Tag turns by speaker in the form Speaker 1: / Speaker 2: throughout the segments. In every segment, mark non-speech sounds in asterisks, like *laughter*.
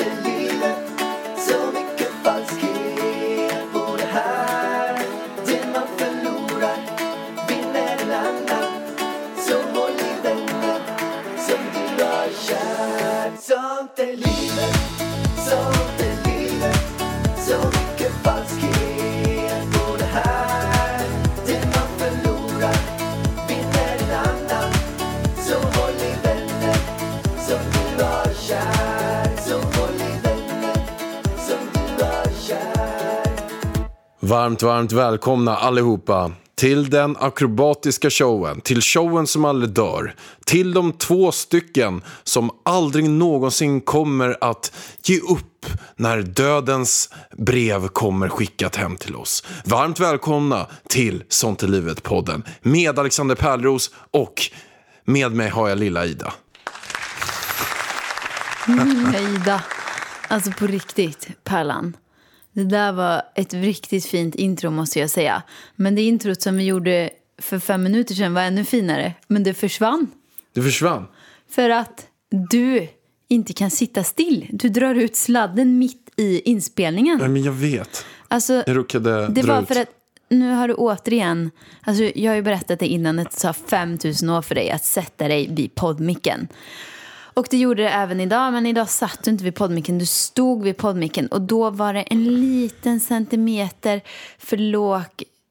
Speaker 1: är livet Så mycket falskhet på det här Det man förlorar vinner en annan Så håll i vänner som du har kär Sånt är livet, sånt är livet Så mycket falskhet på det här Det man förlorar vinner en annan Så håll i vänner som du har kär Så håll i vänner som du har kär
Speaker 2: Varmt, varmt välkomna allihopa till den akrobatiska showen, till showen som aldrig dör, till de två stycken som aldrig någonsin kommer att ge upp när dödens brev kommer skickat hem till oss. Varmt välkomna till Sånt är livet-podden med Alexander Pärleros och med mig har jag lilla Ida.
Speaker 3: Nej, Ida. Alltså på riktigt, Pärlan. Det där var ett riktigt fint intro måste jag säga. Men det introt som vi gjorde för fem minuter sedan var ännu finare. Men det försvann.
Speaker 2: Du försvann.
Speaker 3: För att du inte kan sitta still. Du drar ut sladden mitt i inspelningen.
Speaker 2: Nej, men jag vet.
Speaker 3: Alltså,
Speaker 2: Jag råkade
Speaker 3: det
Speaker 2: dra
Speaker 3: var
Speaker 2: ut.
Speaker 3: för att nu har du återigen, alltså jag har ju berättat det innan, att det tar 5000 år för dig att sätta dig vid poddmicken. Och det gjorde det även idag, men idag satt du inte vid poddmicken, du stod vid poddmicken och då var det en liten centimeter för låg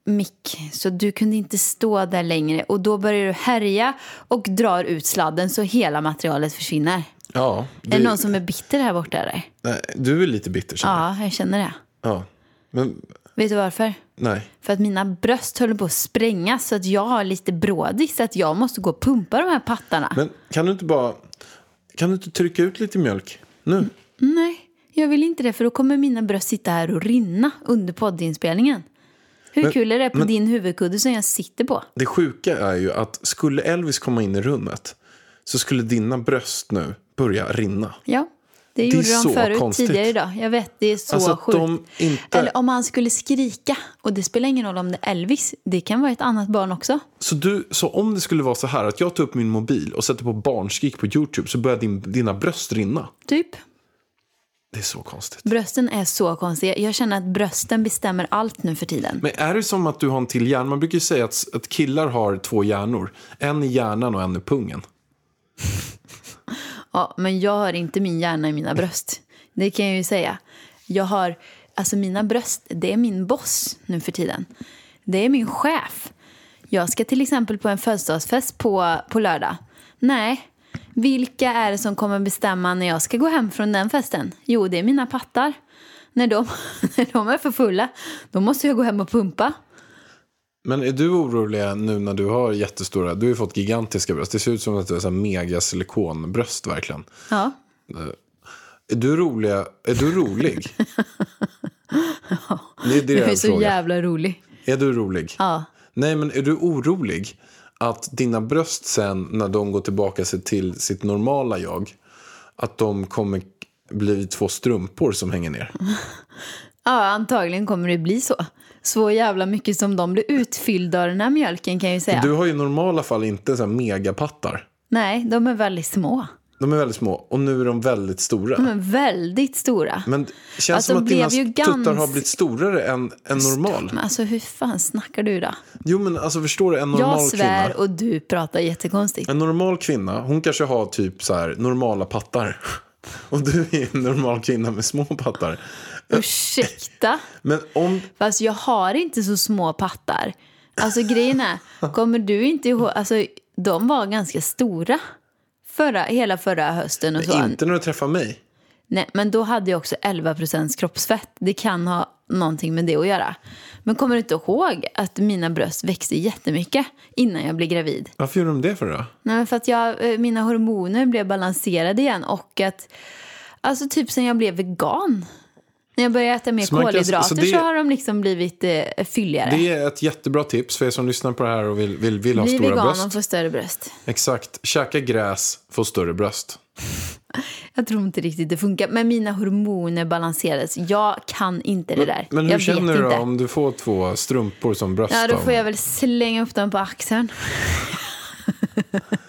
Speaker 3: mick, så du kunde inte stå där längre och då börjar du härja och drar ut sladden så hela materialet försvinner.
Speaker 2: Ja,
Speaker 3: Är det
Speaker 2: du-
Speaker 3: någon som är bitter här borta eller?
Speaker 2: nej, du är lite bitter känner
Speaker 3: Ja, jag känner det.
Speaker 2: jag. Ja. Men
Speaker 3: Vet du varför?
Speaker 2: nej.
Speaker 3: För att mina bröst håller på att sprängas så att jag har lite brådis så att jag måste gå och pumpa de här pattarna.
Speaker 2: Men kan du inte bara... Kan du inte trycka ut lite mjölk? Nu?
Speaker 3: Nej, jag vill inte det för då kommer mina bröst sitta här och rinna under poddinspelningen. Hur
Speaker 2: Men-
Speaker 3: kul är det på
Speaker 2: men-
Speaker 3: din huvudkudde som jag sitter på?
Speaker 2: Det sjuka är ju att skulle Elvis komma in i rummet så skulle dina bröst nu börja rinna.
Speaker 3: Ja, det,
Speaker 2: är
Speaker 3: gjorde
Speaker 2: så
Speaker 3: de förut
Speaker 2: konstigt.
Speaker 3: tidigare idag. Jag vet, det är så
Speaker 2: Alltså att
Speaker 3: sjukt.
Speaker 2: de inte...
Speaker 3: Eller om han skulle skrika, och det spelar ingen roll om det är Elvis, det kan vara ett annat barn också.
Speaker 2: Så, du, så om det skulle vara så här att jag tar upp min mobil och sätter på barnskrik på YouTube så börjar din, dina bröst rinna.
Speaker 3: Typ.
Speaker 2: Det är så konstigt.
Speaker 3: Brösten är så konstiga. Jag känner att brösten bestämmer allt nu för tiden.
Speaker 2: Men är det som att du har en till hjärna? Man brukar ju säga att, att killar har två hjärnor. En i hjärnan och en i pungen.
Speaker 3: Ja, men jag har inte min hjärna i mina bröst. Det kan jag ju säga. Jag har, alltså mina bröst, det är min boss nu för tiden. Det är min chef. Jag ska till exempel på en födelsedagsfest på, på lördag. Nej, vilka är det som kommer bestämma när jag ska gå hem från den festen? Jo, det är mina pattar. När de, *laughs* när de är för fulla, då måste jag gå hem och pumpa.
Speaker 2: Men är du orolig nu när du har jättestora, du har ju fått gigantiska bröst. Det ser ut som att du har så här mega silikonbröst verkligen.
Speaker 3: Ja,
Speaker 2: Är du rolig? Är du
Speaker 3: *laughs*
Speaker 2: rolig? det är det
Speaker 3: du
Speaker 2: jag
Speaker 3: är så
Speaker 2: frågar.
Speaker 3: jävla rolig.
Speaker 2: Är du rolig?
Speaker 3: Ja.
Speaker 2: Nej, men är du orolig att dina bröst sen när de går tillbaka sig till sitt normala jag, att de kommer bli två strumpor som hänger ner?
Speaker 3: Ja, antagligen kommer det bli så. Så jävla mycket som de blir utfyllda av den här mjölken kan jag ju säga.
Speaker 2: Du har ju i normala fall inte så här megapattar.
Speaker 3: Nej, de är väldigt små.
Speaker 2: De är väldigt små och nu är de väldigt stora.
Speaker 3: De är väldigt stora. Men,
Speaker 2: Men det känns
Speaker 3: Alltså,
Speaker 2: som att
Speaker 3: blev
Speaker 2: dina
Speaker 3: ju
Speaker 2: tuttar har
Speaker 3: gans-
Speaker 2: blivit storare än, än normal.
Speaker 3: alltså hur fan snackar du då?
Speaker 2: Jo men alltså förstår du en normal
Speaker 3: Jag svär
Speaker 2: kvinna.
Speaker 3: och du pratar jättekonstigt.
Speaker 2: En normal kvinna, hon kanske har typ så här normala pattar. *laughs* Och du är en normal kvinna med små pattar.
Speaker 3: Ursäkta?
Speaker 2: Men om,
Speaker 3: Fast jag har inte så små pattar. Alltså grejen är, kommer du inte ihåg, alltså de var ganska stora. Förra, hela förra hösten och så.
Speaker 2: inte när du träffar mig.
Speaker 3: Nej, men då hade jag också 11 kroppsfett. Det kan ha någonting med det att göra. Men kommer du inte ihåg att mina bröst växte jättemycket innan jag blev gravid?
Speaker 2: Varför gjorde de det för då?
Speaker 3: Nej, men för att jag, eh, mina hormoner blev balanserade igen och att... Alltså typ sen jag blev vegan. När jag började äta mer
Speaker 2: Så man kan-
Speaker 3: kolhydrater
Speaker 2: så
Speaker 3: så,
Speaker 2: det-
Speaker 3: har de liksom blivit eh, fylligare.
Speaker 2: Det är ett jättebra tips för er som lyssnar på det här och vill, vill, vill ha
Speaker 3: Bli
Speaker 2: stora
Speaker 3: vegan
Speaker 2: bröst.
Speaker 3: och få större bröst.
Speaker 2: Exakt. Käka gräs, få större bröst.
Speaker 3: Jag tror inte riktigt det funkar. Men mina hormoner balanserades. Jag kan inte det där.
Speaker 2: Men hur
Speaker 3: jag
Speaker 2: känner
Speaker 3: vet
Speaker 2: du då
Speaker 3: inte.
Speaker 2: om du får två strumpor som bröst?
Speaker 3: Ja, då
Speaker 2: av
Speaker 3: får
Speaker 2: *laughs*
Speaker 3: jag väl slänga upp dem på axeln.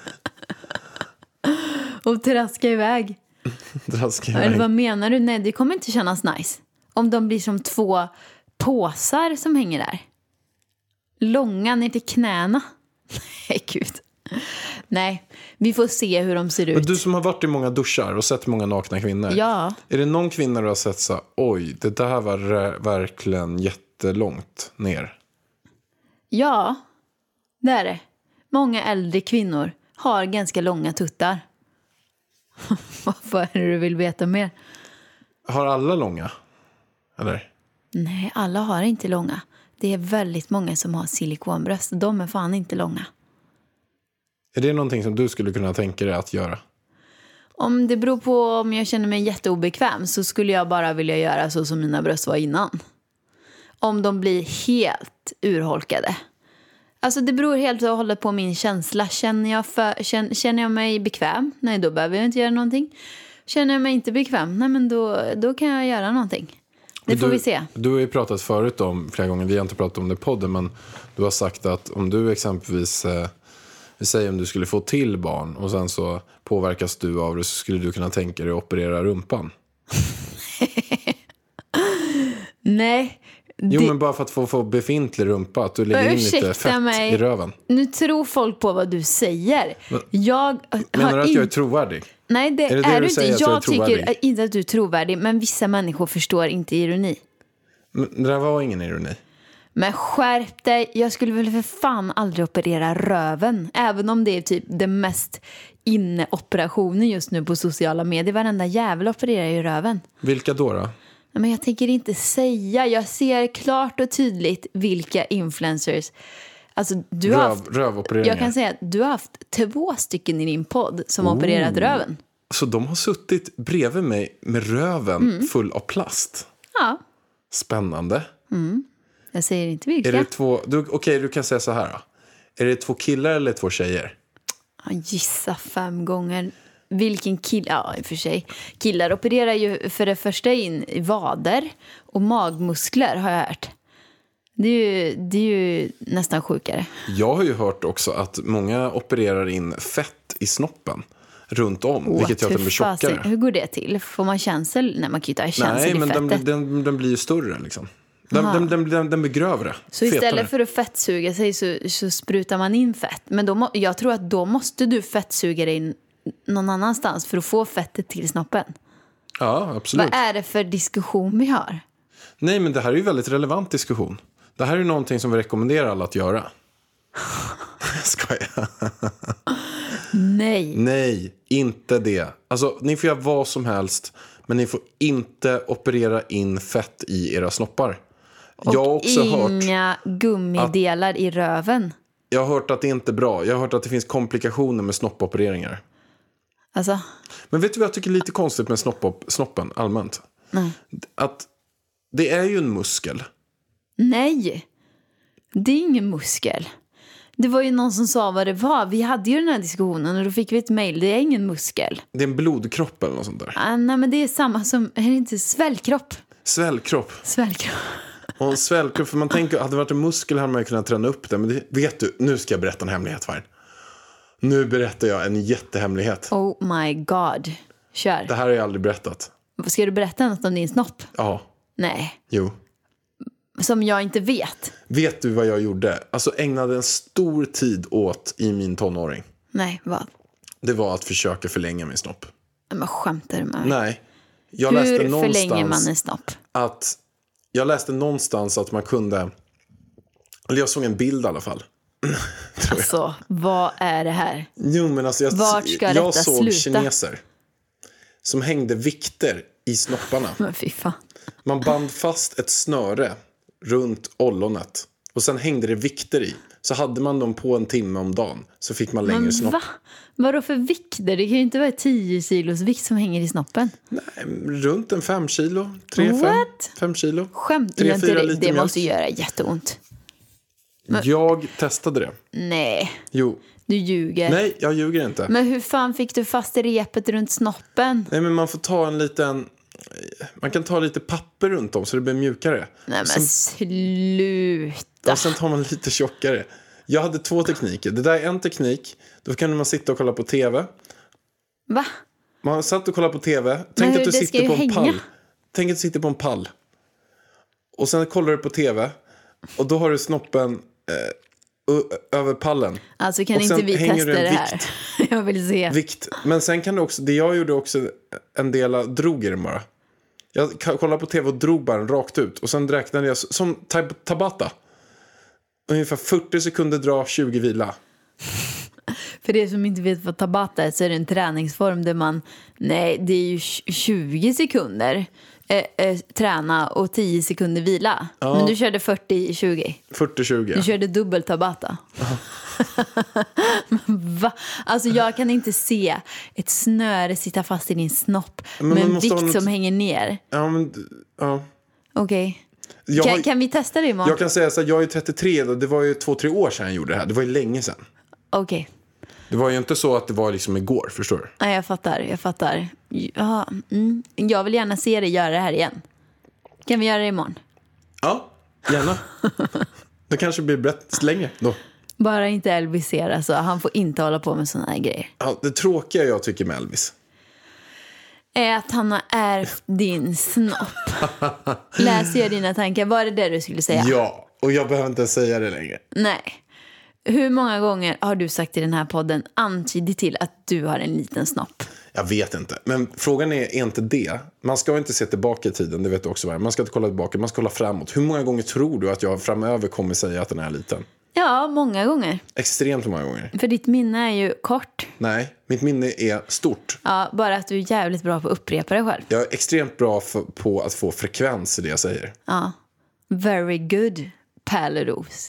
Speaker 3: *laughs* och traska iväg.
Speaker 2: Draska
Speaker 3: Eller
Speaker 2: iväg.
Speaker 3: vad menar du? Nej, det kommer inte kännas nice. Om de blir som två påsar som hänger där. Långa ner till knäna. *laughs* Nej, gud. Nej, vi får se hur de ser
Speaker 2: Men
Speaker 3: ut.
Speaker 2: du som har varit i många duschar och sett många nakna kvinnor.
Speaker 3: Ja.
Speaker 2: Är det någon kvinna du har sett så här, oj, det där var re- verkligen jättelångt ner?
Speaker 3: Ja, det är det. Många äldre kvinnor har ganska långa tuttar. *laughs* Vad är det du vill veta mer?
Speaker 2: Har alla långa? Eller?
Speaker 3: Nej, alla har inte långa. Det är väldigt många som har silikonbröst. De är fan inte långa.
Speaker 2: Är det någonting som du skulle kunna tänka dig att göra?
Speaker 3: Om det beror på om jag känner mig jätteobekväm så skulle jag bara vilja göra så som mina bröst var innan. Om de blir helt urholkade. Alltså det beror helt och hållet på min känsla. Känner jag, för, känner, känner jag mig bekväm, nej då behöver jag inte göra någonting. Känner jag mig inte bekväm, nej men då, då kan jag göra någonting. Det
Speaker 2: Men
Speaker 3: får
Speaker 2: du,
Speaker 3: vi se.
Speaker 2: Du har ju pratat förut om, flera gånger, vi har inte pratat om det i podden, men du har sagt att om du exempelvis, eh, vi säger om du skulle få till barn och sen så påverkas du av det så skulle du kunna tänka dig att operera rumpan.
Speaker 3: Nej.
Speaker 2: Jo,
Speaker 3: det-
Speaker 2: men bara för att få, få befintlig rumpa, att du lägger
Speaker 3: Men
Speaker 2: in lite
Speaker 3: ursäkta
Speaker 2: fett
Speaker 3: mig.
Speaker 2: i röven.
Speaker 3: Nu tror folk på vad du säger. Jag
Speaker 2: Menar du
Speaker 3: har
Speaker 2: att jag är
Speaker 3: inte
Speaker 2: trovärdig?
Speaker 3: Nej, det
Speaker 2: Är det
Speaker 3: är,
Speaker 2: det du
Speaker 3: du
Speaker 2: säger, att
Speaker 3: inte.
Speaker 2: jag är
Speaker 3: Jag tycker eh,
Speaker 2: trovärdig?
Speaker 3: inte att du är trovärdig, men vissa människor förstår inte ironi.
Speaker 2: Men det där var ingen ironi.
Speaker 3: Men skärp dig, jag skulle väl för fan aldrig operera röven. Även om det är typ den mest inne-operationen just nu på sociala medier. Varenda jävel opererar ju röven.
Speaker 2: Vilka då? då?
Speaker 3: Nej, Men jag tänker inte säga, jag ser klart och tydligt vilka influencers. Alltså du har haft,
Speaker 2: Röv, rövopereringar.
Speaker 3: jag kan säga att du har haft två stycken i din podd som opererat röven.
Speaker 2: Så de har suttit bredvid mig med röven
Speaker 3: Mm.
Speaker 2: full av plast.
Speaker 3: Ja,
Speaker 2: Spännande.
Speaker 3: jag säger inte
Speaker 2: Är
Speaker 3: vilka.
Speaker 2: det två... Du, Okej, du kan säga så här. Då. Är det två killar eller två tjejer?
Speaker 3: Ja, Gissa fem gånger. Vilken kille, ja i och för sig. Killar opererar ju för det första in i vader och magmuskler har jag hört. Det är ju, det är ju nästan sjukare.
Speaker 2: Jag har ju hört också att många opererar in fett i snoppen runt om, vilket gör att den blir
Speaker 3: Hur fasen-
Speaker 2: tjockare.
Speaker 3: Hur går det till? Får man känsel? Nej, man kan ju inte ha känsel
Speaker 2: Nej,
Speaker 3: i
Speaker 2: men den,
Speaker 3: fettet.
Speaker 2: den, den blir ju större liksom. Den, den, den, den, den blir grövre.
Speaker 3: så istället
Speaker 2: fetare.
Speaker 3: för att fettsuga sig så, så sprutar man in fett. Men då, må- jag tror att då måste du fettsuga dig någon annanstans för att få fettet till snoppen.
Speaker 2: Ja, absolut.
Speaker 3: Vad är det för diskussion vi har?
Speaker 2: Nej, men det här är ju väldigt relevant diskussion. Det här är ju någonting som vi rekommenderar alla att
Speaker 3: *laughs*
Speaker 2: göra. Skojar.
Speaker 3: Nej.
Speaker 2: Nej, inte det. Alltså, ni får göra vad som helst, men ni får inte operera in fett i era snoppar. jag har också hört,
Speaker 3: inga gummidelar i röven.
Speaker 2: jag har hört att det inte är bra. Jag har hört att det finns komplikationer med snoppopereringar.
Speaker 3: Alltså,
Speaker 2: Men vet du vad jag tycker är lite konstigt med snoppop, snoppen allmänt? Att det är ju en muskel.
Speaker 3: nej. Det är ingen muskel. Det var ju någon som sa vad det var. Vi hade ju den här diskussionen och då fick vi ett mejl. Det är ingen muskel.
Speaker 2: Det är en blodkropp eller något sånt där.
Speaker 3: Ah, nej, men det är samma som... Är det inte svällkropp?
Speaker 2: Svällkropp.
Speaker 3: Svällkropp.
Speaker 2: Och en svällkropp, för man tänker, hade det varit en muskel hade man ju kunnat träna upp det. Men det, vet du, nu ska jag berätta en hemlighet för er. Nu berättar jag en jättehemlighet.
Speaker 3: Oh my god. Kör.
Speaker 2: Det här har jag aldrig berättat.
Speaker 3: Ska du berätta något om din snopp?
Speaker 2: Ja,
Speaker 3: Nej.
Speaker 2: jo.
Speaker 3: Som jag inte vet.
Speaker 2: Vet du vad jag gjorde? Alltså ägnade en stor tid åt i min tonåring.
Speaker 3: Nej, vad?
Speaker 2: Det var att försöka förlänga min snopp.
Speaker 3: Nej, Men skämtar du med mig?
Speaker 2: Nej. Jag läste
Speaker 3: Hur
Speaker 2: någonstans
Speaker 3: förlänger man en snopp?
Speaker 2: att... Jag läste någonstans att man kunde... Eller jag såg en bild i alla fall.
Speaker 3: Alltså, vad är det här?
Speaker 2: Jo, men alltså jag,
Speaker 3: Vart ska detta
Speaker 2: jag såg
Speaker 3: sluta?
Speaker 2: kineser som hängde vikter i snopparna.
Speaker 3: Men fy fan.
Speaker 2: Man band fast ett snöre runt ollonet och sen hängde det vikter i. Så hade man dem på en timme om dagen så fick man längre snopp.
Speaker 3: Va? Vadå för vikter? Det kan ju inte vara 10 kilos vikt som hänger i snoppen.
Speaker 2: Runt en fem kilo. Tre, fem,
Speaker 3: What?
Speaker 2: fem kilo.
Speaker 3: Skämtar
Speaker 2: Tre,
Speaker 3: jag inte
Speaker 2: fyra
Speaker 3: dig?
Speaker 2: liter
Speaker 3: Det
Speaker 2: mjölk.
Speaker 3: måste göra jätteont.
Speaker 2: Jag testade det.
Speaker 3: Nej,
Speaker 2: Jo.
Speaker 3: du ljuger.
Speaker 2: Nej, jag ljuger inte.
Speaker 3: Men hur fan fick du fast repet runt snoppen?
Speaker 2: Nej, men man får ta en liten... Man kan ta lite papper runt om så det blir mjukare.
Speaker 3: Nej men
Speaker 2: Sen-
Speaker 3: sluta.
Speaker 2: Och sen tar man *laughs* lite tjockare. Jag hade två tekniker. Det där är en teknik. Då kan man sitta och kolla på tv.
Speaker 3: Va?
Speaker 2: Man satt och kollade på tv. Tänk
Speaker 3: hur-
Speaker 2: att du
Speaker 3: det ska
Speaker 2: sitter
Speaker 3: ju
Speaker 2: på en
Speaker 3: hänga.
Speaker 2: pall. Tänk att du sitter på en pall. Och sen kollar du på tv. Och då har du snoppen eh, ö- över pallen.
Speaker 3: Alltså kan
Speaker 2: Och sen
Speaker 3: inte vi
Speaker 2: hänger
Speaker 3: testa
Speaker 2: du en
Speaker 3: det här?
Speaker 2: vikt.
Speaker 3: *laughs* Jag vill se.
Speaker 2: Vikt. Men sen kan du också, det jag gjorde också en del, av- drog i den bara. Jag k- kollade på tv och drog bara den rakt ut. Och sen räknade jag, s- som tab- Tabata. Ungefär 40 sekunder dra, 20 vila.
Speaker 3: För er som inte vet vad tabata är så är det en träningsform där man, nej det är ju tj- 20 sekunder eh, eh, träna och 10 sekunder vila. Men du körde 40-20.
Speaker 2: 40-20.
Speaker 3: Du körde dubbel tabata. *laughs* Men Va? Alltså jag kan inte se ett snöre sitta fast i din snopp
Speaker 2: Men
Speaker 3: med
Speaker 2: man
Speaker 3: en
Speaker 2: måste ha
Speaker 3: vikt
Speaker 2: något-
Speaker 3: som hänger ner.
Speaker 2: Ja, men, d- ja.
Speaker 3: Okej.
Speaker 2: Jag,
Speaker 3: Kan, kan vi testa det imorgon?
Speaker 2: jag kan säga så här, jag är 33 och det var ju två, tre år sedan jag gjorde det här. Det var ju länge sedan.
Speaker 3: Okej.
Speaker 2: Det var ju inte så att det var liksom igår, förstår du?
Speaker 3: Nej, jag fattar. Jag fattar. Ja, mm. Jag vill gärna se dig göra det här igen. Kan vi göra det imorgon?
Speaker 2: Ja, gärna. det kanske blir brett längre då.
Speaker 3: Bara inte Elvis ser, alltså. Han får inte hålla på med såna här grejer.
Speaker 2: Ja, det tråkiga jag tycker med Elvis.
Speaker 3: Är att han har ärvt din snopp. Läser jag dina tankar? Var det det du skulle säga?
Speaker 2: Ja, och jag behöver inte ens säga det längre.
Speaker 3: Nej. Hur många gånger har du sagt i den här podden antydit till att du har en liten snopp?
Speaker 2: Jag vet inte. Men frågan är, är inte det. Man ska ju inte se tillbaka i tiden, det vet du också. va? Man ska inte kolla tillbaka, man ska kolla framåt. Hur många gånger tror du att jag framöver kommer säga att den är liten?
Speaker 3: Ja, många gånger.
Speaker 2: Extremt många gånger.
Speaker 3: För ditt minne är ju kort.
Speaker 2: Nej, mitt minne är stort.
Speaker 3: Ja, bara att du är jävligt bra på att upprepa dig själv.
Speaker 2: Jag är extremt bra f- på att få frekvens i det jag säger.
Speaker 3: Very good, Pärleros.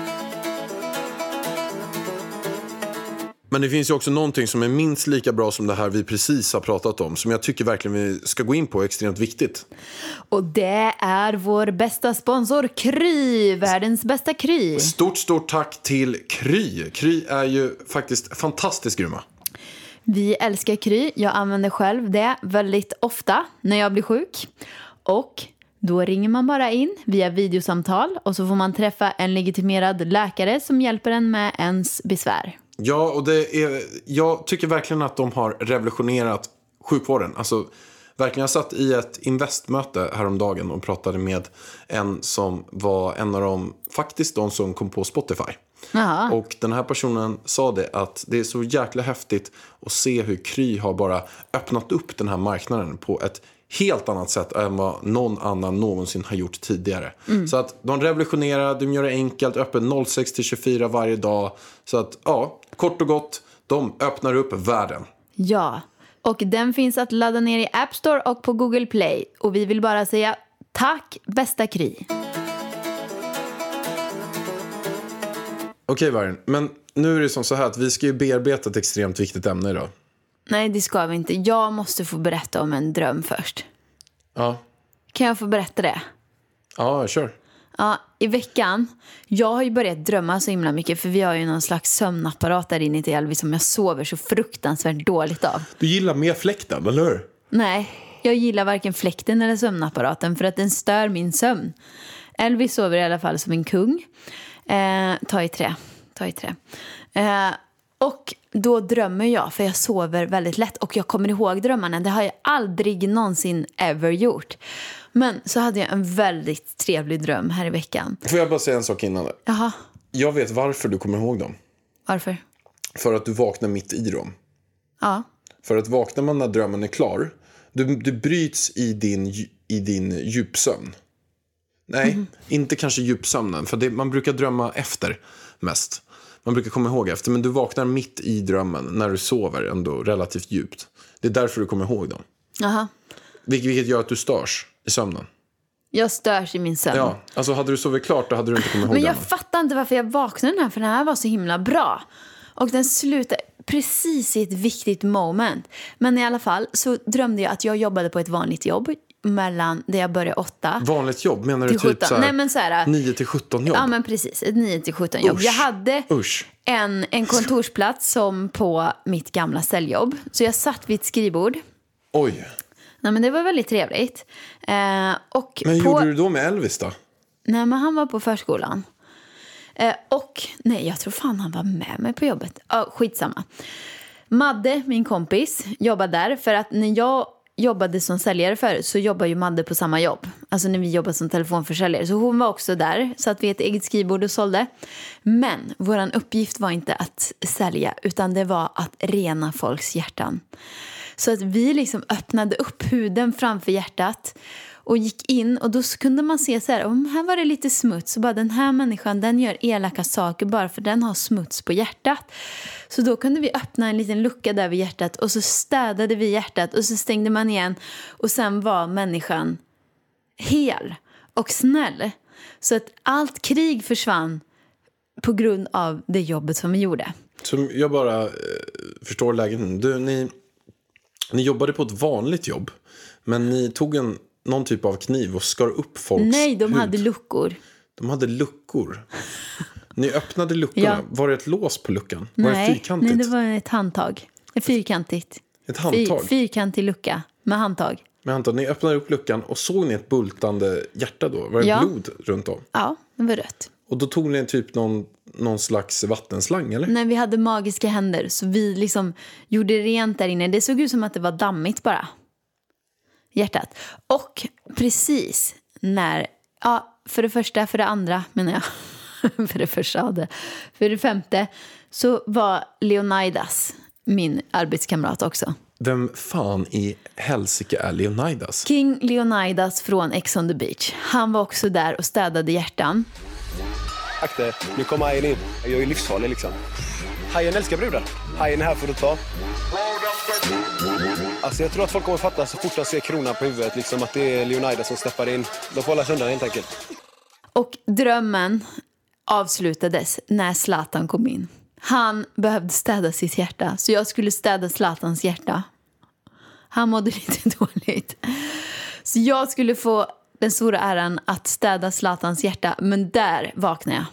Speaker 2: Men det finns ju också någonting som är minst lika bra som det här vi precis har pratat om. Som jag tycker verkligen vi ska gå in på, är extremt viktigt.
Speaker 3: Och det är vår bästa sponsor Kry, världens bästa Kry.
Speaker 2: Stort, stort tack till Kry. Kry är ju faktiskt fantastiskt grymma.
Speaker 3: Vi älskar Kry, jag använder själv det väldigt ofta när jag blir sjuk. Och då ringer man bara in via videosamtal och så får man träffa en legitimerad läkare som hjälper en med ens besvär.
Speaker 2: Ja, och det är, jag tycker verkligen att de har revolutionerat sjukvården. Alltså, verkligen, jag satt i ett investmöte häromdagen och pratade med en som var en av de, faktiskt de som kom på Spotify.
Speaker 3: Jaha.
Speaker 2: Och den här personen sa det att det är så jäkla häftigt att se hur Kry har bara öppnat upp den här marknaden på ett helt annat sätt än vad någon annan någonsin har gjort tidigare. Så att de revolutionerar, de gör det enkelt, öppen 06 till 24 varje dag. Så att ja, kort och gott, de öppnar upp världen.
Speaker 3: Ja, och den finns att ladda ner i App Store och på Google Play. Och vi vill bara säga tack bästa Kry.
Speaker 2: Okej Vargen, men nu är det som så här att vi ska ju bearbeta ett extremt viktigt ämne idag.
Speaker 3: Nej, det ska vi inte. Jag måste få berätta om en dröm först.
Speaker 2: Ja,
Speaker 3: Kan jag få berätta det?
Speaker 2: ja kör.
Speaker 3: Ja, i veckan. Jag har ju börjat drömma så himla mycket för vi har ju någon slags sömnapparat där inne till Elvis som jag sover så fruktansvärt dåligt av.
Speaker 2: Du gillar mer fläkten, eller hur?
Speaker 3: Nej, jag gillar varken fläkten eller sömnapparaten för att den stör min sömn. Elvis sover i alla fall som en kung. Eh, ta i trä, ta i trä. Eh, och då drömmer jag, för jag sover väldigt lätt och jag kommer ihåg drömmarna. Det har jag aldrig någonsin ever gjort. Men så hade jag en väldigt trevlig dröm här i veckan.
Speaker 2: Får jag bara säga en sak innan?
Speaker 3: Jaha,
Speaker 2: Jag vet varför du kommer ihåg dem.
Speaker 3: varför?
Speaker 2: För att du vaknar mitt i dem.
Speaker 3: Ja.
Speaker 2: För att vaknar man när drömmen är klar, du, du bryts i din, dju- i din djupsömn. Nej,
Speaker 3: Mhm.
Speaker 2: inte kanske djupsömnen, för det, man brukar drömma efter mest. Man brukar komma ihåg efter, men du vaknar mitt i drömmen när du sover ändå relativt djupt. Det är därför du kommer ihåg dem.
Speaker 3: Jaha.
Speaker 2: Vil- vilket gör att du störs i sömnen.
Speaker 3: Jag störs i min sömn.
Speaker 2: Ja, alltså hade du sovit klart då hade du inte kommit ihåg
Speaker 3: Mm. Men jag
Speaker 2: drömmen.
Speaker 3: fattar inte varför jag vaknade den här för den här var så himla bra. Och den slutade precis i ett viktigt moment. Men i alla fall så drömde jag att jag jobbade på ett vanligt jobb mellan där jag började åtta.
Speaker 2: Vanligt jobb? Menar du
Speaker 3: Till
Speaker 2: typ
Speaker 3: 17?
Speaker 2: så här,
Speaker 3: Nej, men så här- äh,
Speaker 2: 9 till 17 jobb?
Speaker 3: Ja men precis, ett 9 till 17 jobb.
Speaker 2: Usch.
Speaker 3: Jag hade
Speaker 2: Usch.
Speaker 3: en, en kontorsplats som på mitt gamla ställjobb. Så jag satt vid ett skrivbord.
Speaker 2: Oj.
Speaker 3: Nej men det var väldigt trevligt. Eh, och
Speaker 2: Men
Speaker 3: på...
Speaker 2: gjorde du då med Elvis då?
Speaker 3: Nej, men han var på förskolan. Eh, och, nej, jag tror fan han var med mig på jobbet. Ja, skitsamma. Madde, min kompis, jobbade där. För att när jag jobbade som säljare förut så jobbar ju Madde på samma jobb. Alltså när vi jobbade som telefonförsäljare. Så hon var också där, så att vi ett eget skrivbord och sålde. Men vår uppgift var inte att sälja, utan det var att rena folks hjärtan. Så att vi liksom öppnade upp huden framför hjärtat och gick in och då så kunde man se så här, om här var det lite smuts och bara den här människan den gör elaka saker bara för den har smuts på hjärtat. Så då kunde vi öppna en liten lucka där vid hjärtat och så städade vi hjärtat och så stängde man igen och sen var människan hel och snäll. Så att allt krig försvann på grund av det jobbet som vi gjorde.
Speaker 2: Som jag bara eh, förstår läget nu. Du, ni, ni jobbade på ett vanligt jobb, men ni tog en, någon typ av kniv och skar upp folks
Speaker 3: Nej, de
Speaker 2: hud.
Speaker 3: hade luckor.
Speaker 2: de hade luckor. Ni öppnade luckorna.
Speaker 3: Ja.
Speaker 2: Var det ett lås på luckan? var det
Speaker 3: Nej,
Speaker 2: fyrkantigt?
Speaker 3: nej, det var ett handtag. Ett Fyrkantigt.
Speaker 2: Ett handtag?
Speaker 3: Fyr, fyrkantig lucka med handtag.
Speaker 2: Men Anton, ni öppnade upp luckan och såg ni ett bultande hjärta då? Var det
Speaker 3: Ja.
Speaker 2: blod runt om?
Speaker 3: Ja, det var rött.
Speaker 2: Och då tog ni typ någon, någon slags vattenslang, eller?
Speaker 3: När vi hade magiska händer så vi liksom gjorde rent där inne. Det såg ut som att det var dammigt bara. Hjärtat. Och precis när, ja, för det första, för det andra menar jag. *laughs* för det första hade. För det femte så var Leonidas min arbetskamrat också.
Speaker 2: Vem fan i helsike är Leonidas?
Speaker 3: King Leonidas från Ex on the beach. Han var också där och städade hjärtan.
Speaker 4: Akta er, nu kommer hajen in. Jag är ju livsfarlig liksom. Hajen älskar brudar. Hajen är här för att ta. Alltså jag tror att folk kommer fatta så fort de ser kronan på huvudet liksom att det är Leonidas som steppar in. De får hålla sig undan helt enkelt.
Speaker 3: Och drömmen avslutades när Zlatan kom in. Han behövde städa sitt hjärta, så jag skulle städa Zlatans hjärta. Han mådde *laughs* lite dåligt. Så jag skulle få den stora äran att städa Zlatans hjärta, men där vaknade jag.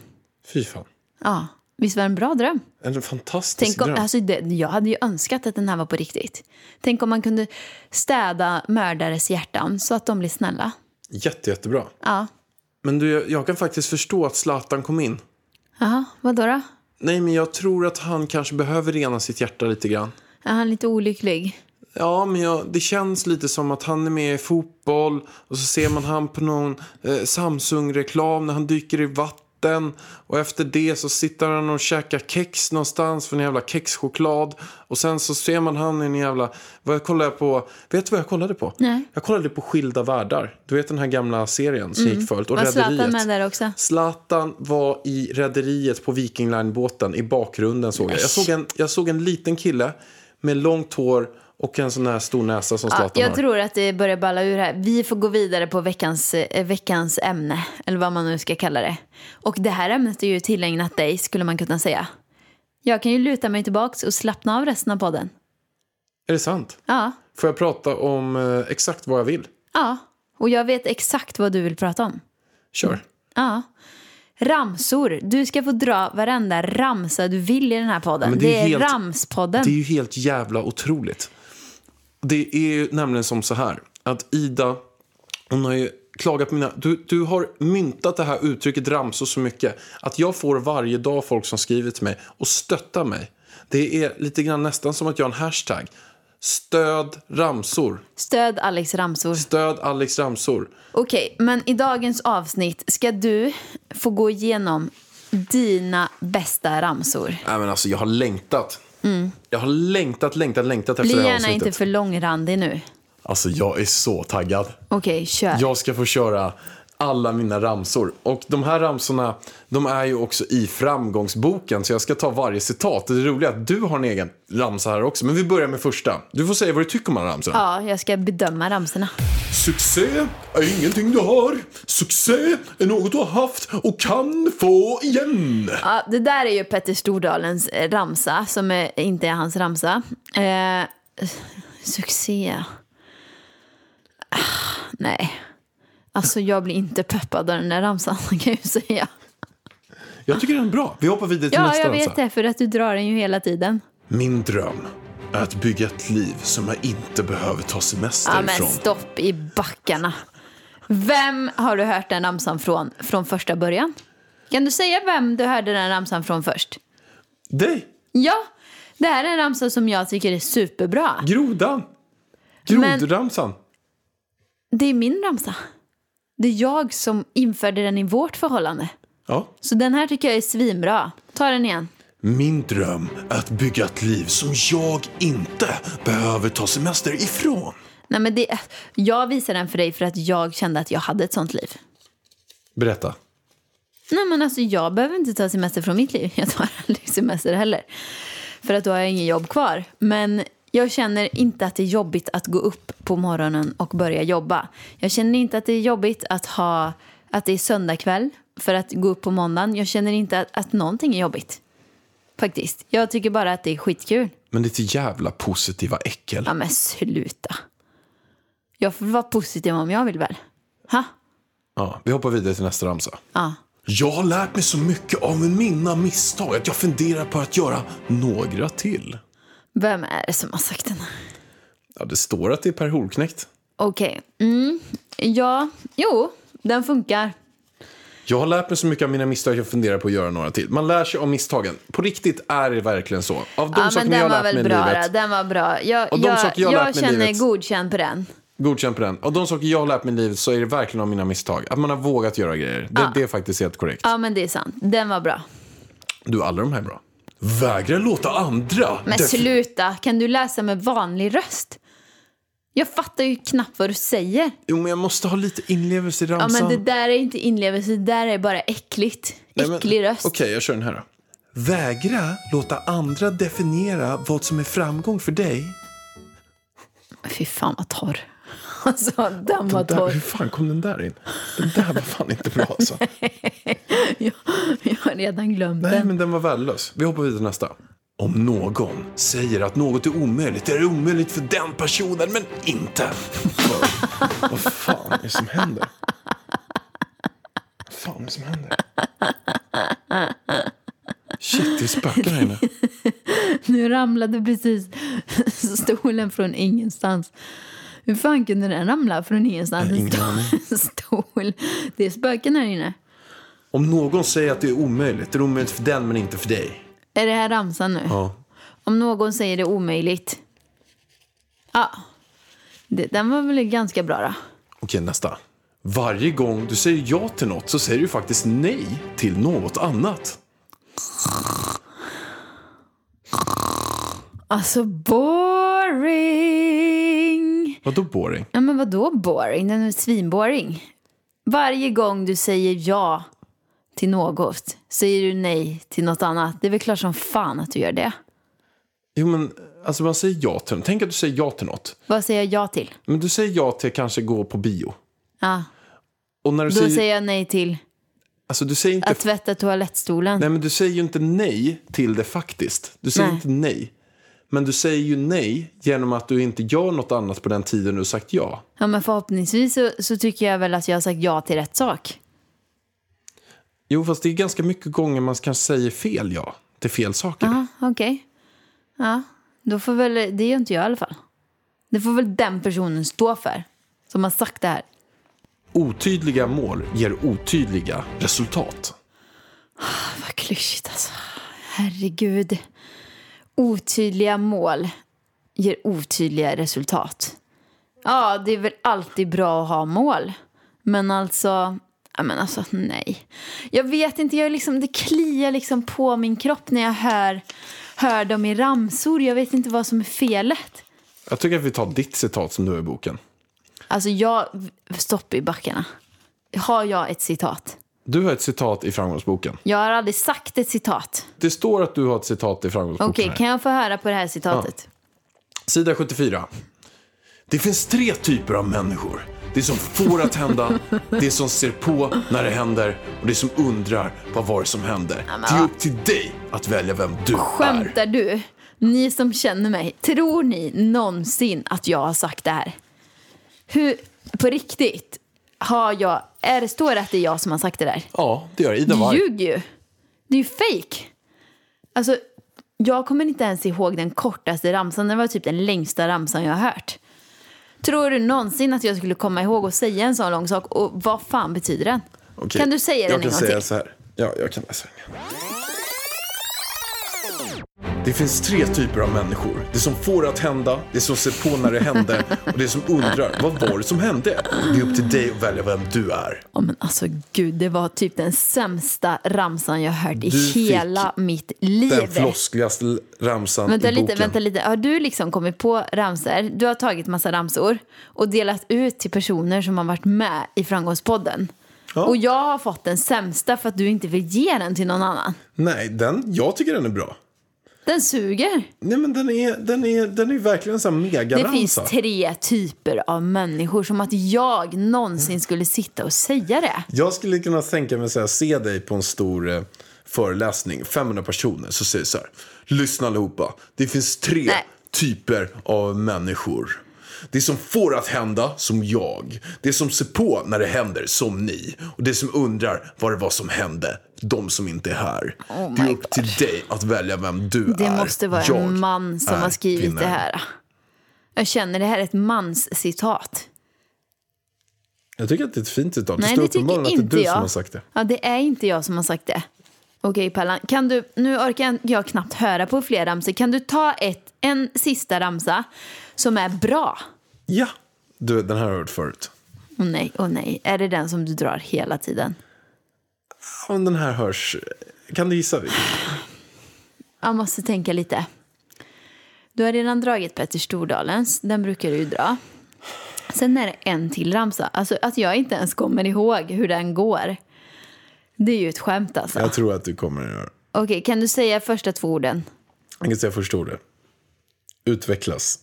Speaker 2: Fy fan.
Speaker 3: Ja, visst var det en bra dröm?
Speaker 2: En fantastisk
Speaker 3: Tänk om,
Speaker 2: dröm.
Speaker 3: alltså det, jag hade ju önskat att den här var på riktigt. Tänk om man kunde städa mördares hjärtan så att de blir snälla.
Speaker 2: Jätte, jättebra.
Speaker 3: Ja,
Speaker 2: Men du, jag- jag kan faktiskt förstå att Zlatan kom in.
Speaker 3: Jaha, vadå då?
Speaker 2: Nej, men jag tror att han kanske behöver rena sitt hjärta lite grann.
Speaker 3: Är han lite olycklig?
Speaker 2: Ja, men jag, det känns lite som att han är med i fotboll och så ser man han på någon eh, Samsung-reklam när han dyker i vatten. Och efter det så sitter han och käkar kex någonstans för en jävla kexchoklad. Och sen så ser man han i en jävla... Vad jag kollade på... Vet du vad jag kollade på?
Speaker 3: Nej.
Speaker 2: Jag kollade på Skilda Världar. Du vet den här gamla serien som gick förut. Och
Speaker 3: Mm. Var Zlatan
Speaker 2: Rederiet.
Speaker 3: med där också?
Speaker 2: Zlatan var i rederiet på Viking Line-båten i bakgrunden såg jag. Jag såg, en, jag såg en liten kille med långt hår och en sån här stor näsa som
Speaker 3: Ja,
Speaker 2: Zlatan
Speaker 3: jag
Speaker 2: har.
Speaker 3: tror att det börjar balla ur här. Vi får gå vidare på veckans, eh, veckans ämne, eller vad man nu ska kalla det. Och det här ämnet är ju tillägnat dig, skulle man kunna säga. Jag kan ju luta mig tillbaks och slappna av resten av podden.
Speaker 2: Är det sant?
Speaker 3: Ja,
Speaker 2: Får jag prata om eh, exakt vad jag vill?
Speaker 3: ja. Och jag vet exakt vad du vill prata om.
Speaker 2: Kör.
Speaker 3: Ja. Ramsor. Du ska få dra varenda ramsa du vill i den här podden.
Speaker 2: men
Speaker 3: det,
Speaker 2: det är
Speaker 3: är
Speaker 2: helt-
Speaker 3: Ramspodden.
Speaker 2: Det är ju helt jävla otroligt. Det är ju nämligen som så här att Ida, hon har ju klagat på mina... Du, du har myntat det här uttrycket ramsor så mycket att jag får varje dag folk som skriver till mig och stöttar mig. Det är lite grann nästan som att jag har en hashtag. Stöd ramsor.
Speaker 3: Stöd Alex ramsor.
Speaker 2: Stöd Alex ramsor.
Speaker 3: Okej, men i dagens avsnitt ska du få gå igenom dina bästa ramsor.
Speaker 2: Nej men alltså jag har längtat. Jag har längtat, längtat, längtat efter
Speaker 3: Mm.
Speaker 2: det
Speaker 3: Bli
Speaker 2: här
Speaker 3: gärna
Speaker 2: avsnittet.
Speaker 3: inte för långrandig nu.
Speaker 2: Alltså jag är så taggad.
Speaker 3: Okej, kör.
Speaker 2: Jag ska få köra alla mina ramsor. Och de här ramsorna, de är ju också i framgångsboken. Så jag ska ta varje citat. Det roliga är att du har en egen ramsa här också. Men vi börjar med första. Du får säga vad du tycker om alla ramsorna.
Speaker 3: Ja, jag ska bedöma ramsorna.
Speaker 2: Succé är ingenting du har. Succé är något du har haft och kan få igen.
Speaker 3: Ja, det där är ju Petter Stordalens eh, ramsa, som är, inte är hans ramsa. Eh, succé. Ah, nej. Alltså jag blir inte peppad av den där ramsan *laughs* kan jag ju säga.
Speaker 2: Jag tycker den är bra. Vi hoppar vidare till
Speaker 3: Ja,
Speaker 2: nästa
Speaker 3: jag
Speaker 2: ramsa.
Speaker 3: vet det för att du drar den ju hela tiden.
Speaker 2: Min dröm är att bygga ett liv som jag inte behöver ta semester
Speaker 3: Ja, men
Speaker 2: ifrån.
Speaker 3: stopp i backarna. Vem har du hört den ramsan från, från första början? Kan du säga vem du hörde den ramsan från först?
Speaker 2: Dig,
Speaker 3: Ja, det här är en ramsa som jag tycker är superbra.
Speaker 2: grodan.
Speaker 3: Men-
Speaker 2: Grodramsan.
Speaker 3: Det är min ramsa. Det är jag som införde den i vårt förhållande.
Speaker 2: Ja.
Speaker 3: Så den här tycker jag är svinbra. Ta den igen.
Speaker 2: Min dröm är att bygga ett liv som jag inte behöver ta semester ifrån.
Speaker 3: Nej, men det, jag visar den för dig för att jag kände att jag hade ett sånt liv.
Speaker 2: Berätta.
Speaker 3: Nej men alltså jag behöver inte ta semester från mitt liv. *laughs* Jag tar aldrig semester heller. För att då har jag ingen jobb kvar. Men jag känner inte att det är jobbigt att gå upp på morgonen och börja jobba. Jag känner inte att det är jobbigt att, ha, att det är söndag kväll för att gå upp på måndagen. Jag känner inte att, att någonting är jobbigt. Faktiskt. Jag tycker bara att det är skitkul.
Speaker 2: Men ditt jävla positiva äckel.
Speaker 3: Ja men sluta. Jag får vara positiv om jag vill väl. Ha?
Speaker 2: Ja, vi hoppar vidare till nästa ramsa.
Speaker 3: Ja.
Speaker 2: Jag har lärt mig så mycket av mina misstag att jag funderar på att göra några till.
Speaker 3: Vem är det som har sagt den här?
Speaker 2: Ja, det står att det är Per Holknekt.
Speaker 3: Okej. Mm. Ja, jo, den funkar.
Speaker 2: Jag har lärt mig så mycket av mina misstag att jag funderar på att göra några till. Man lär sig av misstagen. På riktigt är det verkligen så. Av de
Speaker 3: ja, men
Speaker 2: sakerna jag
Speaker 3: den
Speaker 2: har
Speaker 3: var
Speaker 2: lärt mig
Speaker 3: väl
Speaker 2: i
Speaker 3: bra.
Speaker 2: livet,
Speaker 3: då, Den var bra. Jag,
Speaker 2: Och de
Speaker 3: jag,
Speaker 2: saker jag lärt mig i
Speaker 3: känner
Speaker 2: livet.
Speaker 3: godkänd på den.
Speaker 2: godkänn på den. Av de saker jag har lärt mig i livet så är det verkligen av mina misstag. Att man har vågat göra grejer. Det, det är faktiskt helt korrekt.
Speaker 3: Ja, men det är sant. Den var bra.
Speaker 2: Du, alla de här är bra. Vägra låta andra...
Speaker 3: Men
Speaker 2: defi-
Speaker 3: sluta, kan du läsa med vanlig röst? Jag fattar ju knappt vad du säger.
Speaker 2: Jo, men jag måste ha lite inlevelse i
Speaker 3: Ja,
Speaker 2: ramsan.
Speaker 3: men det där är inte inlevelse, det där är bara äckligt.
Speaker 2: Nej, men-
Speaker 3: Äcklig röst.
Speaker 2: Okej, jag kör den här då. Vägra låta andra definiera vad som är framgång för dig.
Speaker 3: Fy fan vad torr. *laughs* Alltså, den var
Speaker 2: Den där,
Speaker 3: torr. *laughs*
Speaker 2: hur fan kom den där in? Den där var fan inte bra alltså.
Speaker 3: Jag, jag har redan glömt
Speaker 2: Nej,
Speaker 3: den.
Speaker 2: men den var värdelös. Vi hoppar vidare till nästa. Om någon säger att något är omöjligt är det omöjligt för den personen, men inte för... *laughs* Vad fan är det som händer? Vad fan är det som händer? Shit, det spökar här inne.
Speaker 3: Nu ramlade precis *laughs* stolen från ingenstans. Hur fan kunde den ramla från ingenstans?
Speaker 2: Nej,
Speaker 3: En
Speaker 2: ingen
Speaker 3: stol. *laughs* stol. Det är spöken här inne.
Speaker 2: Om någon säger att det är omöjligt är det omöjligt för den, men inte för dig.
Speaker 3: Är det här ramsan nu?
Speaker 2: Ja.
Speaker 3: Om någon säger det omöjligt. Ja. Det, den var väl ganska bra då.
Speaker 2: Okej, nästa. Varje gång du säger ja till något så säger du faktiskt nej till något annat.
Speaker 3: Alltså boring.
Speaker 2: Vadå boring?
Speaker 3: Ja men vadå boring? Den är svinboring. Varje gång du säger ja till något säger du nej till något annat. Det är väl klart som fan att du gör det.
Speaker 2: Jo, men alltså man säger ja till Tänk att du säger ja till något.
Speaker 3: Vad säger jag ja till?
Speaker 2: Men du säger ja till kanske gå på bio.
Speaker 3: Ja,
Speaker 2: Och när du
Speaker 3: då
Speaker 2: säger...
Speaker 3: säger jag nej till
Speaker 2: Alltså du säger inte...
Speaker 3: att tvätta toalettstolen.
Speaker 2: Nej, men du säger ju inte nej till det faktiskt. Du säger
Speaker 3: Nej.
Speaker 2: inte nej. Men du säger ju nej genom att du inte gör något annat på den tiden du har sagt ja.
Speaker 3: Ja, men förhoppningsvis så, så tycker jag väl att jag har sagt ja till rätt sak.
Speaker 2: Jo, fast det är ganska mycket gånger man kanske säger fel ja till fel saker.
Speaker 3: Ja, okej. Ja, då får väl, det gör inte jag i alla fall. Det får väl den personen stå för, som har sagt det här.
Speaker 2: Otydliga mål ger otydliga resultat.
Speaker 3: Vad klyschigt alltså. Herregud. Otydliga mål ger otydliga resultat. Ja, det är väl alltid bra att ha mål. Men alltså, ja men alltså nej. Jag vet inte, jag är liksom, det kliar liksom på min kropp när jag hör, hör dem i ramsor. Jag vet inte vad som är felet.
Speaker 2: Jag tycker att vi tar ditt citat som du har i boken.
Speaker 3: Alltså jag, stopp i backarna. har jag ett citat.
Speaker 2: Du har ett citat i framgångsboken.
Speaker 3: Jag har aldrig sagt ett citat.
Speaker 2: Det står att du har ett citat i framgångsboken.
Speaker 3: Okej,
Speaker 2: här.
Speaker 3: kan jag få höra på det här citatet?
Speaker 2: Sida 74. Det finns tre typer av människor. Det som får att hända, det som ser på när det händer och det som undrar vad var det som hände. Det är upp till dig att välja vem du är.
Speaker 3: Skämtar du? Ni som känner mig, tror ni någonsin att jag har sagt det här? Hur, på riktigt, har jag, är det, står det att det är jag som har sagt det där?
Speaker 2: Ja, det gör Ida
Speaker 3: Du
Speaker 2: Warg.
Speaker 3: ljuger ju. Det är ju fake. Alltså, jag kommer inte ens ihåg den kortaste ramsan. Det var typ den längsta ramsan jag har hört. Tror du någonsin att jag skulle komma ihåg att säga en sån lång sak? Och vad fan betyder den?
Speaker 2: Okej,
Speaker 3: Kan du säga den
Speaker 2: jag
Speaker 3: en
Speaker 2: kan
Speaker 3: gång
Speaker 2: säga
Speaker 3: till?
Speaker 2: så här. Ja, jag kan läsa den igen. Det finns tre typer av människor. Det som får att hända, det som ser på när det
Speaker 3: *laughs*
Speaker 2: hände och det som undrar vad var det som hände. Det är upp till dig att välja vem du är.
Speaker 3: Ja, men alltså gud, det var typ den sämsta ramsan jag hört i
Speaker 2: Du fick
Speaker 3: hela mitt liv.
Speaker 2: Den floskligaste l- ramsan
Speaker 3: Vänta
Speaker 2: i
Speaker 3: lite,
Speaker 2: boken.
Speaker 3: vänta lite. Har du liksom kommit på ramsor? Du har tagit massa ramsor och delat ut till personer som har varit med i Framgångspodden. Och jag har fått den sämsta för att du inte vill ge den till någon annan.
Speaker 2: Nej, den, jag tycker den är bra.
Speaker 3: Den suger.
Speaker 2: Nej men den är, den är, den är verkligen en sån här
Speaker 3: Det finns
Speaker 2: megaramsa.
Speaker 3: tre typer av människor. Som att jag någonsin skulle sitta och säga det.
Speaker 2: Jag skulle kunna tänka mig att se dig på en stor eh, föreläsning, 500 personer, så säger så här. Lyssna allihopa, det finns tre
Speaker 3: Nej.
Speaker 2: typer av människor. Det som får att hända, som jag. Det som ser på när det händer, som ni. Och det som undrar vad det var som hände, de som inte är här. det är upp till dig att välja vem du
Speaker 3: Oh Det
Speaker 2: är.
Speaker 3: måste vara
Speaker 2: Jag
Speaker 3: en man som
Speaker 2: är
Speaker 3: har skrivit det
Speaker 2: vinnaren.
Speaker 3: här. Jag känner det här är ett manscitat.
Speaker 2: Jag tycker att det är ett fint citat.
Speaker 3: Nej,
Speaker 2: det står
Speaker 3: det tycker
Speaker 2: uppenbarligen att
Speaker 3: inte
Speaker 2: det är du
Speaker 3: jag.
Speaker 2: som har sagt det.
Speaker 3: Ja, det är inte jag som har sagt det. Okej, Pallan. Kan du, nu orkar jag- jag knappt höra på fler ramsor. Kan du ta ett, en sista ramsa som är bra?
Speaker 2: Ja. Du, den här har jag hört förut.
Speaker 3: Åh nej, åh nej. Är det den som du drar hela tiden?
Speaker 2: Om den här hörs, kan du gissa? vilken?
Speaker 3: Jag måste tänka lite. Du har redan dragit Petter Stordalens. Den brukar du ju dra. Sen är det en till ramsa. Alltså att jag inte ens kommer ihåg hur den går. Det är ju ett skämt alltså.
Speaker 2: Jag tror att du kommer att göra.
Speaker 3: Okej, kan du säga första två orden?
Speaker 2: Jag kan säga förstår det. Utvecklas.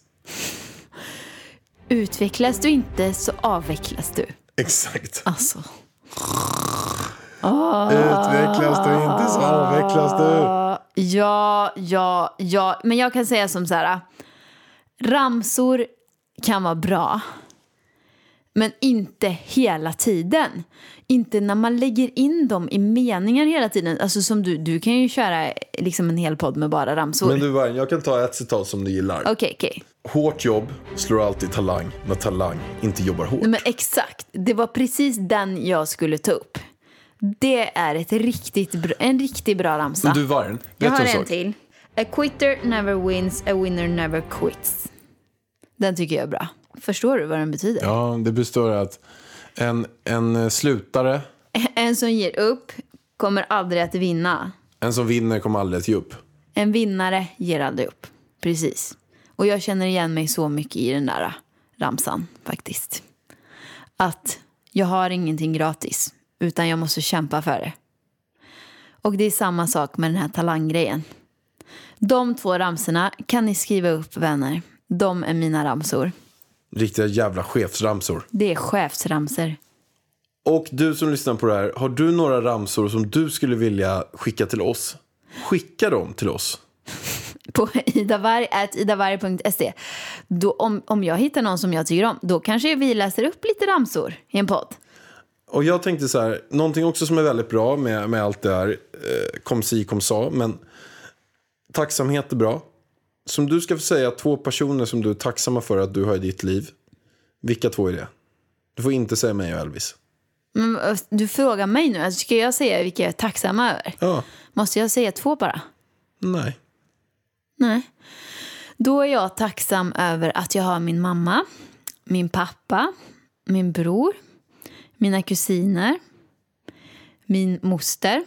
Speaker 3: Utvecklas du inte så avvecklas du.
Speaker 2: Exakt.
Speaker 3: Alltså.
Speaker 2: Utvecklas du inte så avvecklas du.
Speaker 3: Ja, ja, ja. Men jag kan säga som så här. Ramsor kan vara bra. Men inte hela tiden. Inte när man lägger in dem i meningar hela tiden. Alltså som du, du kan ju köra liksom en hel podd med bara ramsor.
Speaker 2: Men du Vargen, jag kan ta ett citat som du gillar.
Speaker 3: Okej, okej.
Speaker 2: Hårt jobb slår alltid talang när talang inte jobbar hårt.
Speaker 3: Nej, Men exakt, det var precis den jag skulle ta upp. Det är ett riktigt bra, en riktigt bra ramsa.
Speaker 2: Men du Vargen,
Speaker 3: Jag
Speaker 2: vet
Speaker 3: har
Speaker 2: du en
Speaker 3: en
Speaker 2: sak?
Speaker 3: till. A quitter never wins, a winner never quits. Den tycker jag är bra. Förstår du vad den betyder?
Speaker 2: Ja, det består av att en, en slutare,
Speaker 3: *laughs* En som ger upp kommer aldrig att vinna.
Speaker 2: en som vinner kommer aldrig att ge upp.
Speaker 3: En vinnare ger aldrig upp. Precis. Och jag känner igen mig så mycket i den där äh, ramsan faktiskt. Att jag har ingenting gratis, utan jag måste kämpa för det. Och det är samma sak med den här talanggrejen. De två ramsorna kan ni skriva upp vänner. De är mina ramsor.
Speaker 2: Riktiga jävla chefsramsor.
Speaker 3: Det är chefsramsor.
Speaker 2: Och du som lyssnar på det här, har du några ramsor som du skulle vilja skicka till oss? Skicka dem till oss.
Speaker 3: på *laughs* idavarg.idavarg.se. E. Då, om, om jag hittar någon som jag tycker om, då kanske vi läser upp lite ramsor i en podd.
Speaker 2: Och jag tänkte så här, någonting också som är väldigt bra med, med allt det här, eh, kom si kom sa, men tacksamhet är bra. Som du ska få säga två personer som du är tacksamma för att du har i ditt liv, vilka två är det? Du får inte säga mig och Elvis.
Speaker 3: Men, ö, du frågar mig nu, alltså, ska jag säga vilka jag är tacksam över?
Speaker 2: Ja,
Speaker 3: Måste jag säga två bara?
Speaker 2: nej.
Speaker 3: Nej. Då är jag tacksam över att jag har min mamma, min pappa, min bror, mina kusiner, min moster,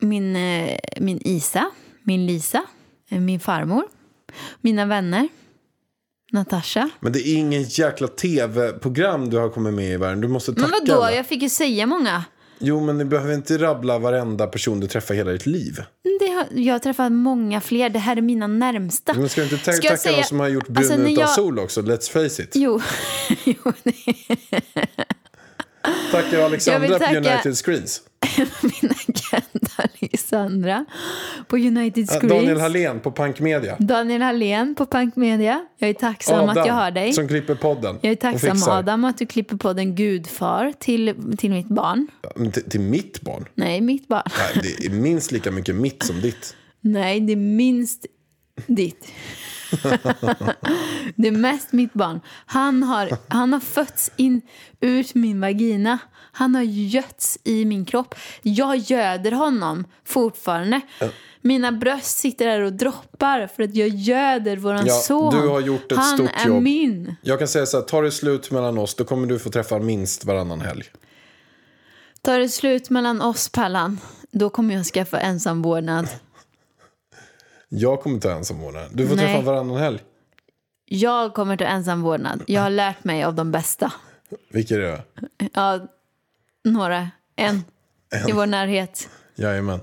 Speaker 3: min, eh, min Isa, min Lisa, eh, min farmor, mina vänner, Natasha?
Speaker 2: Men det är ingen jäkla tv-program du har kommit med i världen. Du måste tacka
Speaker 3: Men vadå,
Speaker 2: alla.
Speaker 3: jag fick ju säga många.
Speaker 2: Jo, men du behöver inte rabbla varenda person du träffar i hela ditt liv.
Speaker 3: Det har, jag har träffat många fler, det här är mina närmsta.
Speaker 2: Men ska du inte ta-
Speaker 3: Ska jag
Speaker 2: tacka
Speaker 3: säga-
Speaker 2: de som har gjort brun
Speaker 3: Alltså, när
Speaker 2: utan
Speaker 3: jag-
Speaker 2: sol också? Let's face it.
Speaker 3: Jo, *laughs* jo nej.
Speaker 2: Tacka Alexandra
Speaker 3: Jag vill
Speaker 2: på
Speaker 3: tacka-
Speaker 2: United Screens.
Speaker 3: min agent Alexandra på United
Speaker 2: Ja,
Speaker 3: Screens.
Speaker 2: Daniel Hallén på Punk Media.
Speaker 3: Daniel Hallén på Punk Media. Jag är tacksam att jag har dig.
Speaker 2: som klipper podden.
Speaker 3: Jag är
Speaker 2: och
Speaker 3: tacksam
Speaker 2: fixar.
Speaker 3: Adam att du klipper podden Gudfar till, till mitt barn.
Speaker 2: Men Till, till mitt barn?
Speaker 3: Nej, mitt barn.
Speaker 2: Nej, det är minst lika mycket mitt som ditt.
Speaker 3: Nej, det är minst ditt. det är mest mitt barn. Han har, han har fötts in ut min vagina. Han har götts i min kropp. Jag göder honom fortfarande. Mina bröst sitter där och droppar för att jag göder våran
Speaker 2: Ja,
Speaker 3: son.
Speaker 2: du har gjort ett
Speaker 3: han
Speaker 2: stort
Speaker 3: är
Speaker 2: jobb.
Speaker 3: min.
Speaker 2: Jag kan säga så här, tar det slut mellan oss, då kommer du få träffa minst varannan helg.
Speaker 3: Tar det slut mellan oss, Pallan, då kommer jag skaffa ensam vårdnad.
Speaker 2: Jag kommer ta ensam vårdnad. Du får
Speaker 3: Nej.
Speaker 2: träffa varannan helg.
Speaker 3: Jag kommer ta ensam vårdnad. Jag har lärt mig av de bästa.
Speaker 2: Vilka är det?
Speaker 3: Ja, några. En. I vår närhet.
Speaker 2: Jajamän.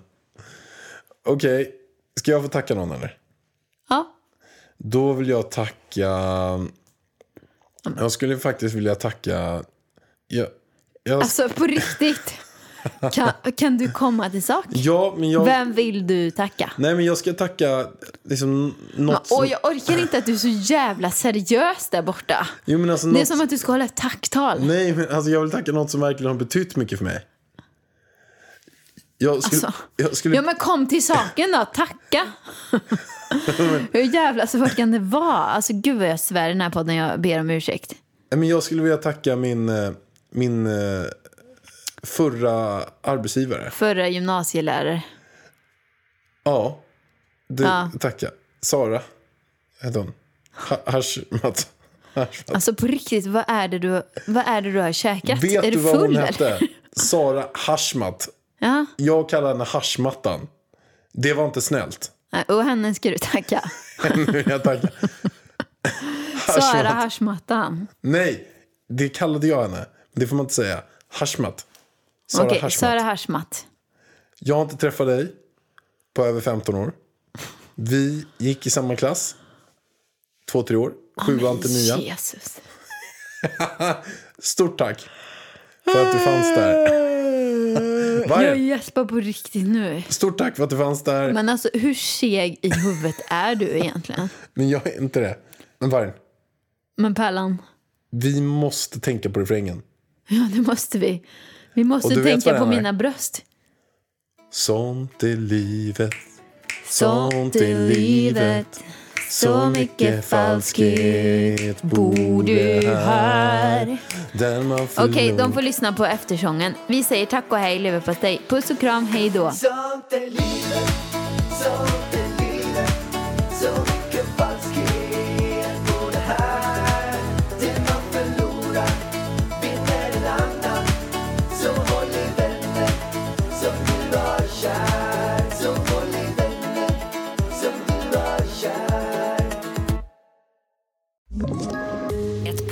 Speaker 2: Okej, ska jag få tacka någon eller?
Speaker 3: Ja.
Speaker 2: Då vill jag tacka... Jag skulle faktiskt vilja tacka... Jag, jag,
Speaker 3: Alltså på riktigt. Kan, kan du komma till sak?
Speaker 2: ja, men jag...
Speaker 3: Vem vill du tacka?
Speaker 2: Nej, men jag ska tacka liksom något
Speaker 3: Och
Speaker 2: som...
Speaker 3: jag orkar inte att du är så jävla seriös där borta.
Speaker 2: Jo, men alltså
Speaker 3: Det är
Speaker 2: något...
Speaker 3: som att du ska hålla ett tacktal.
Speaker 2: Nej, men alltså jag vill tacka något som verkligen har betytt mycket för mig. Jag skulle...
Speaker 3: Alltså.
Speaker 2: Jag skulle...
Speaker 3: Ja men kom till saken då,
Speaker 2: *laughs*
Speaker 3: tacka. Hur jävla svårt kan det vara? Alltså gud vad jag svär i den här podden, jag ber om ursäkt.
Speaker 2: Nej, men jag skulle vilja tacka min, eh, min eh, förra arbetsgivare.
Speaker 3: Förra gymnasielärare.
Speaker 2: Ja, du,
Speaker 3: Ja.
Speaker 2: tacka. Sara hette hon. Ha- Hashmat. Hashmat.
Speaker 3: Alltså på riktigt, vad är det du, vad är det du har käkat?
Speaker 2: Vet
Speaker 3: är
Speaker 2: du
Speaker 3: du
Speaker 2: vad
Speaker 3: full
Speaker 2: hon
Speaker 3: eller?
Speaker 2: hette? Sara Hashmat.
Speaker 3: Ja.
Speaker 2: Jag kallar henne Hashmattan. Det var inte snällt. *laughs*
Speaker 3: Nej, Och henne ska du tacka.
Speaker 2: Nu vill jag tacka.
Speaker 3: Sara
Speaker 2: Hashmat.
Speaker 3: Hashmattan.
Speaker 2: Nej, det kallade jag henne. Det får man inte säga. Hashmat. Sara
Speaker 3: Okej,
Speaker 2: Hashmat.
Speaker 3: Sara Hashmat.
Speaker 2: Jag har inte träffat dig på över 15 år. Vi gick i samma klass. Två, tre år.
Speaker 3: Ah,
Speaker 2: Sjuan till nian.
Speaker 3: Jesus.
Speaker 2: Stort tack för att du fanns
Speaker 3: *laughs*
Speaker 2: där.
Speaker 3: Jag
Speaker 2: Varje,
Speaker 3: gäspar på riktigt nu.
Speaker 2: stort tack för att du fanns där.
Speaker 3: Men alltså hur seg i huvudet är du egentligen?
Speaker 2: Men jag är inte det. Men Vargen,
Speaker 3: Men Pärlan,
Speaker 2: vi måste tänka på refrängen.
Speaker 3: ja det måste vi. Vi
Speaker 2: Och du
Speaker 3: måste
Speaker 2: vet
Speaker 3: tänka
Speaker 2: vad
Speaker 3: på
Speaker 2: den är.
Speaker 3: mina bröst.
Speaker 2: Sånt är livet.
Speaker 3: Sånt i livet. Så mycket falskhet bor du här.
Speaker 2: Där man förlorar.
Speaker 3: Okej, de får lyssna på eftersången. Vi säger tack och hej leverpastej. Puss och kram, hej då.
Speaker 1: Sånt är livet, sånt är livet Så mycket falskhet på det här Det man förlorar vinner en annan Så håll i vänner som du har kär Så håll i vänner som du har kär
Speaker 5: Ett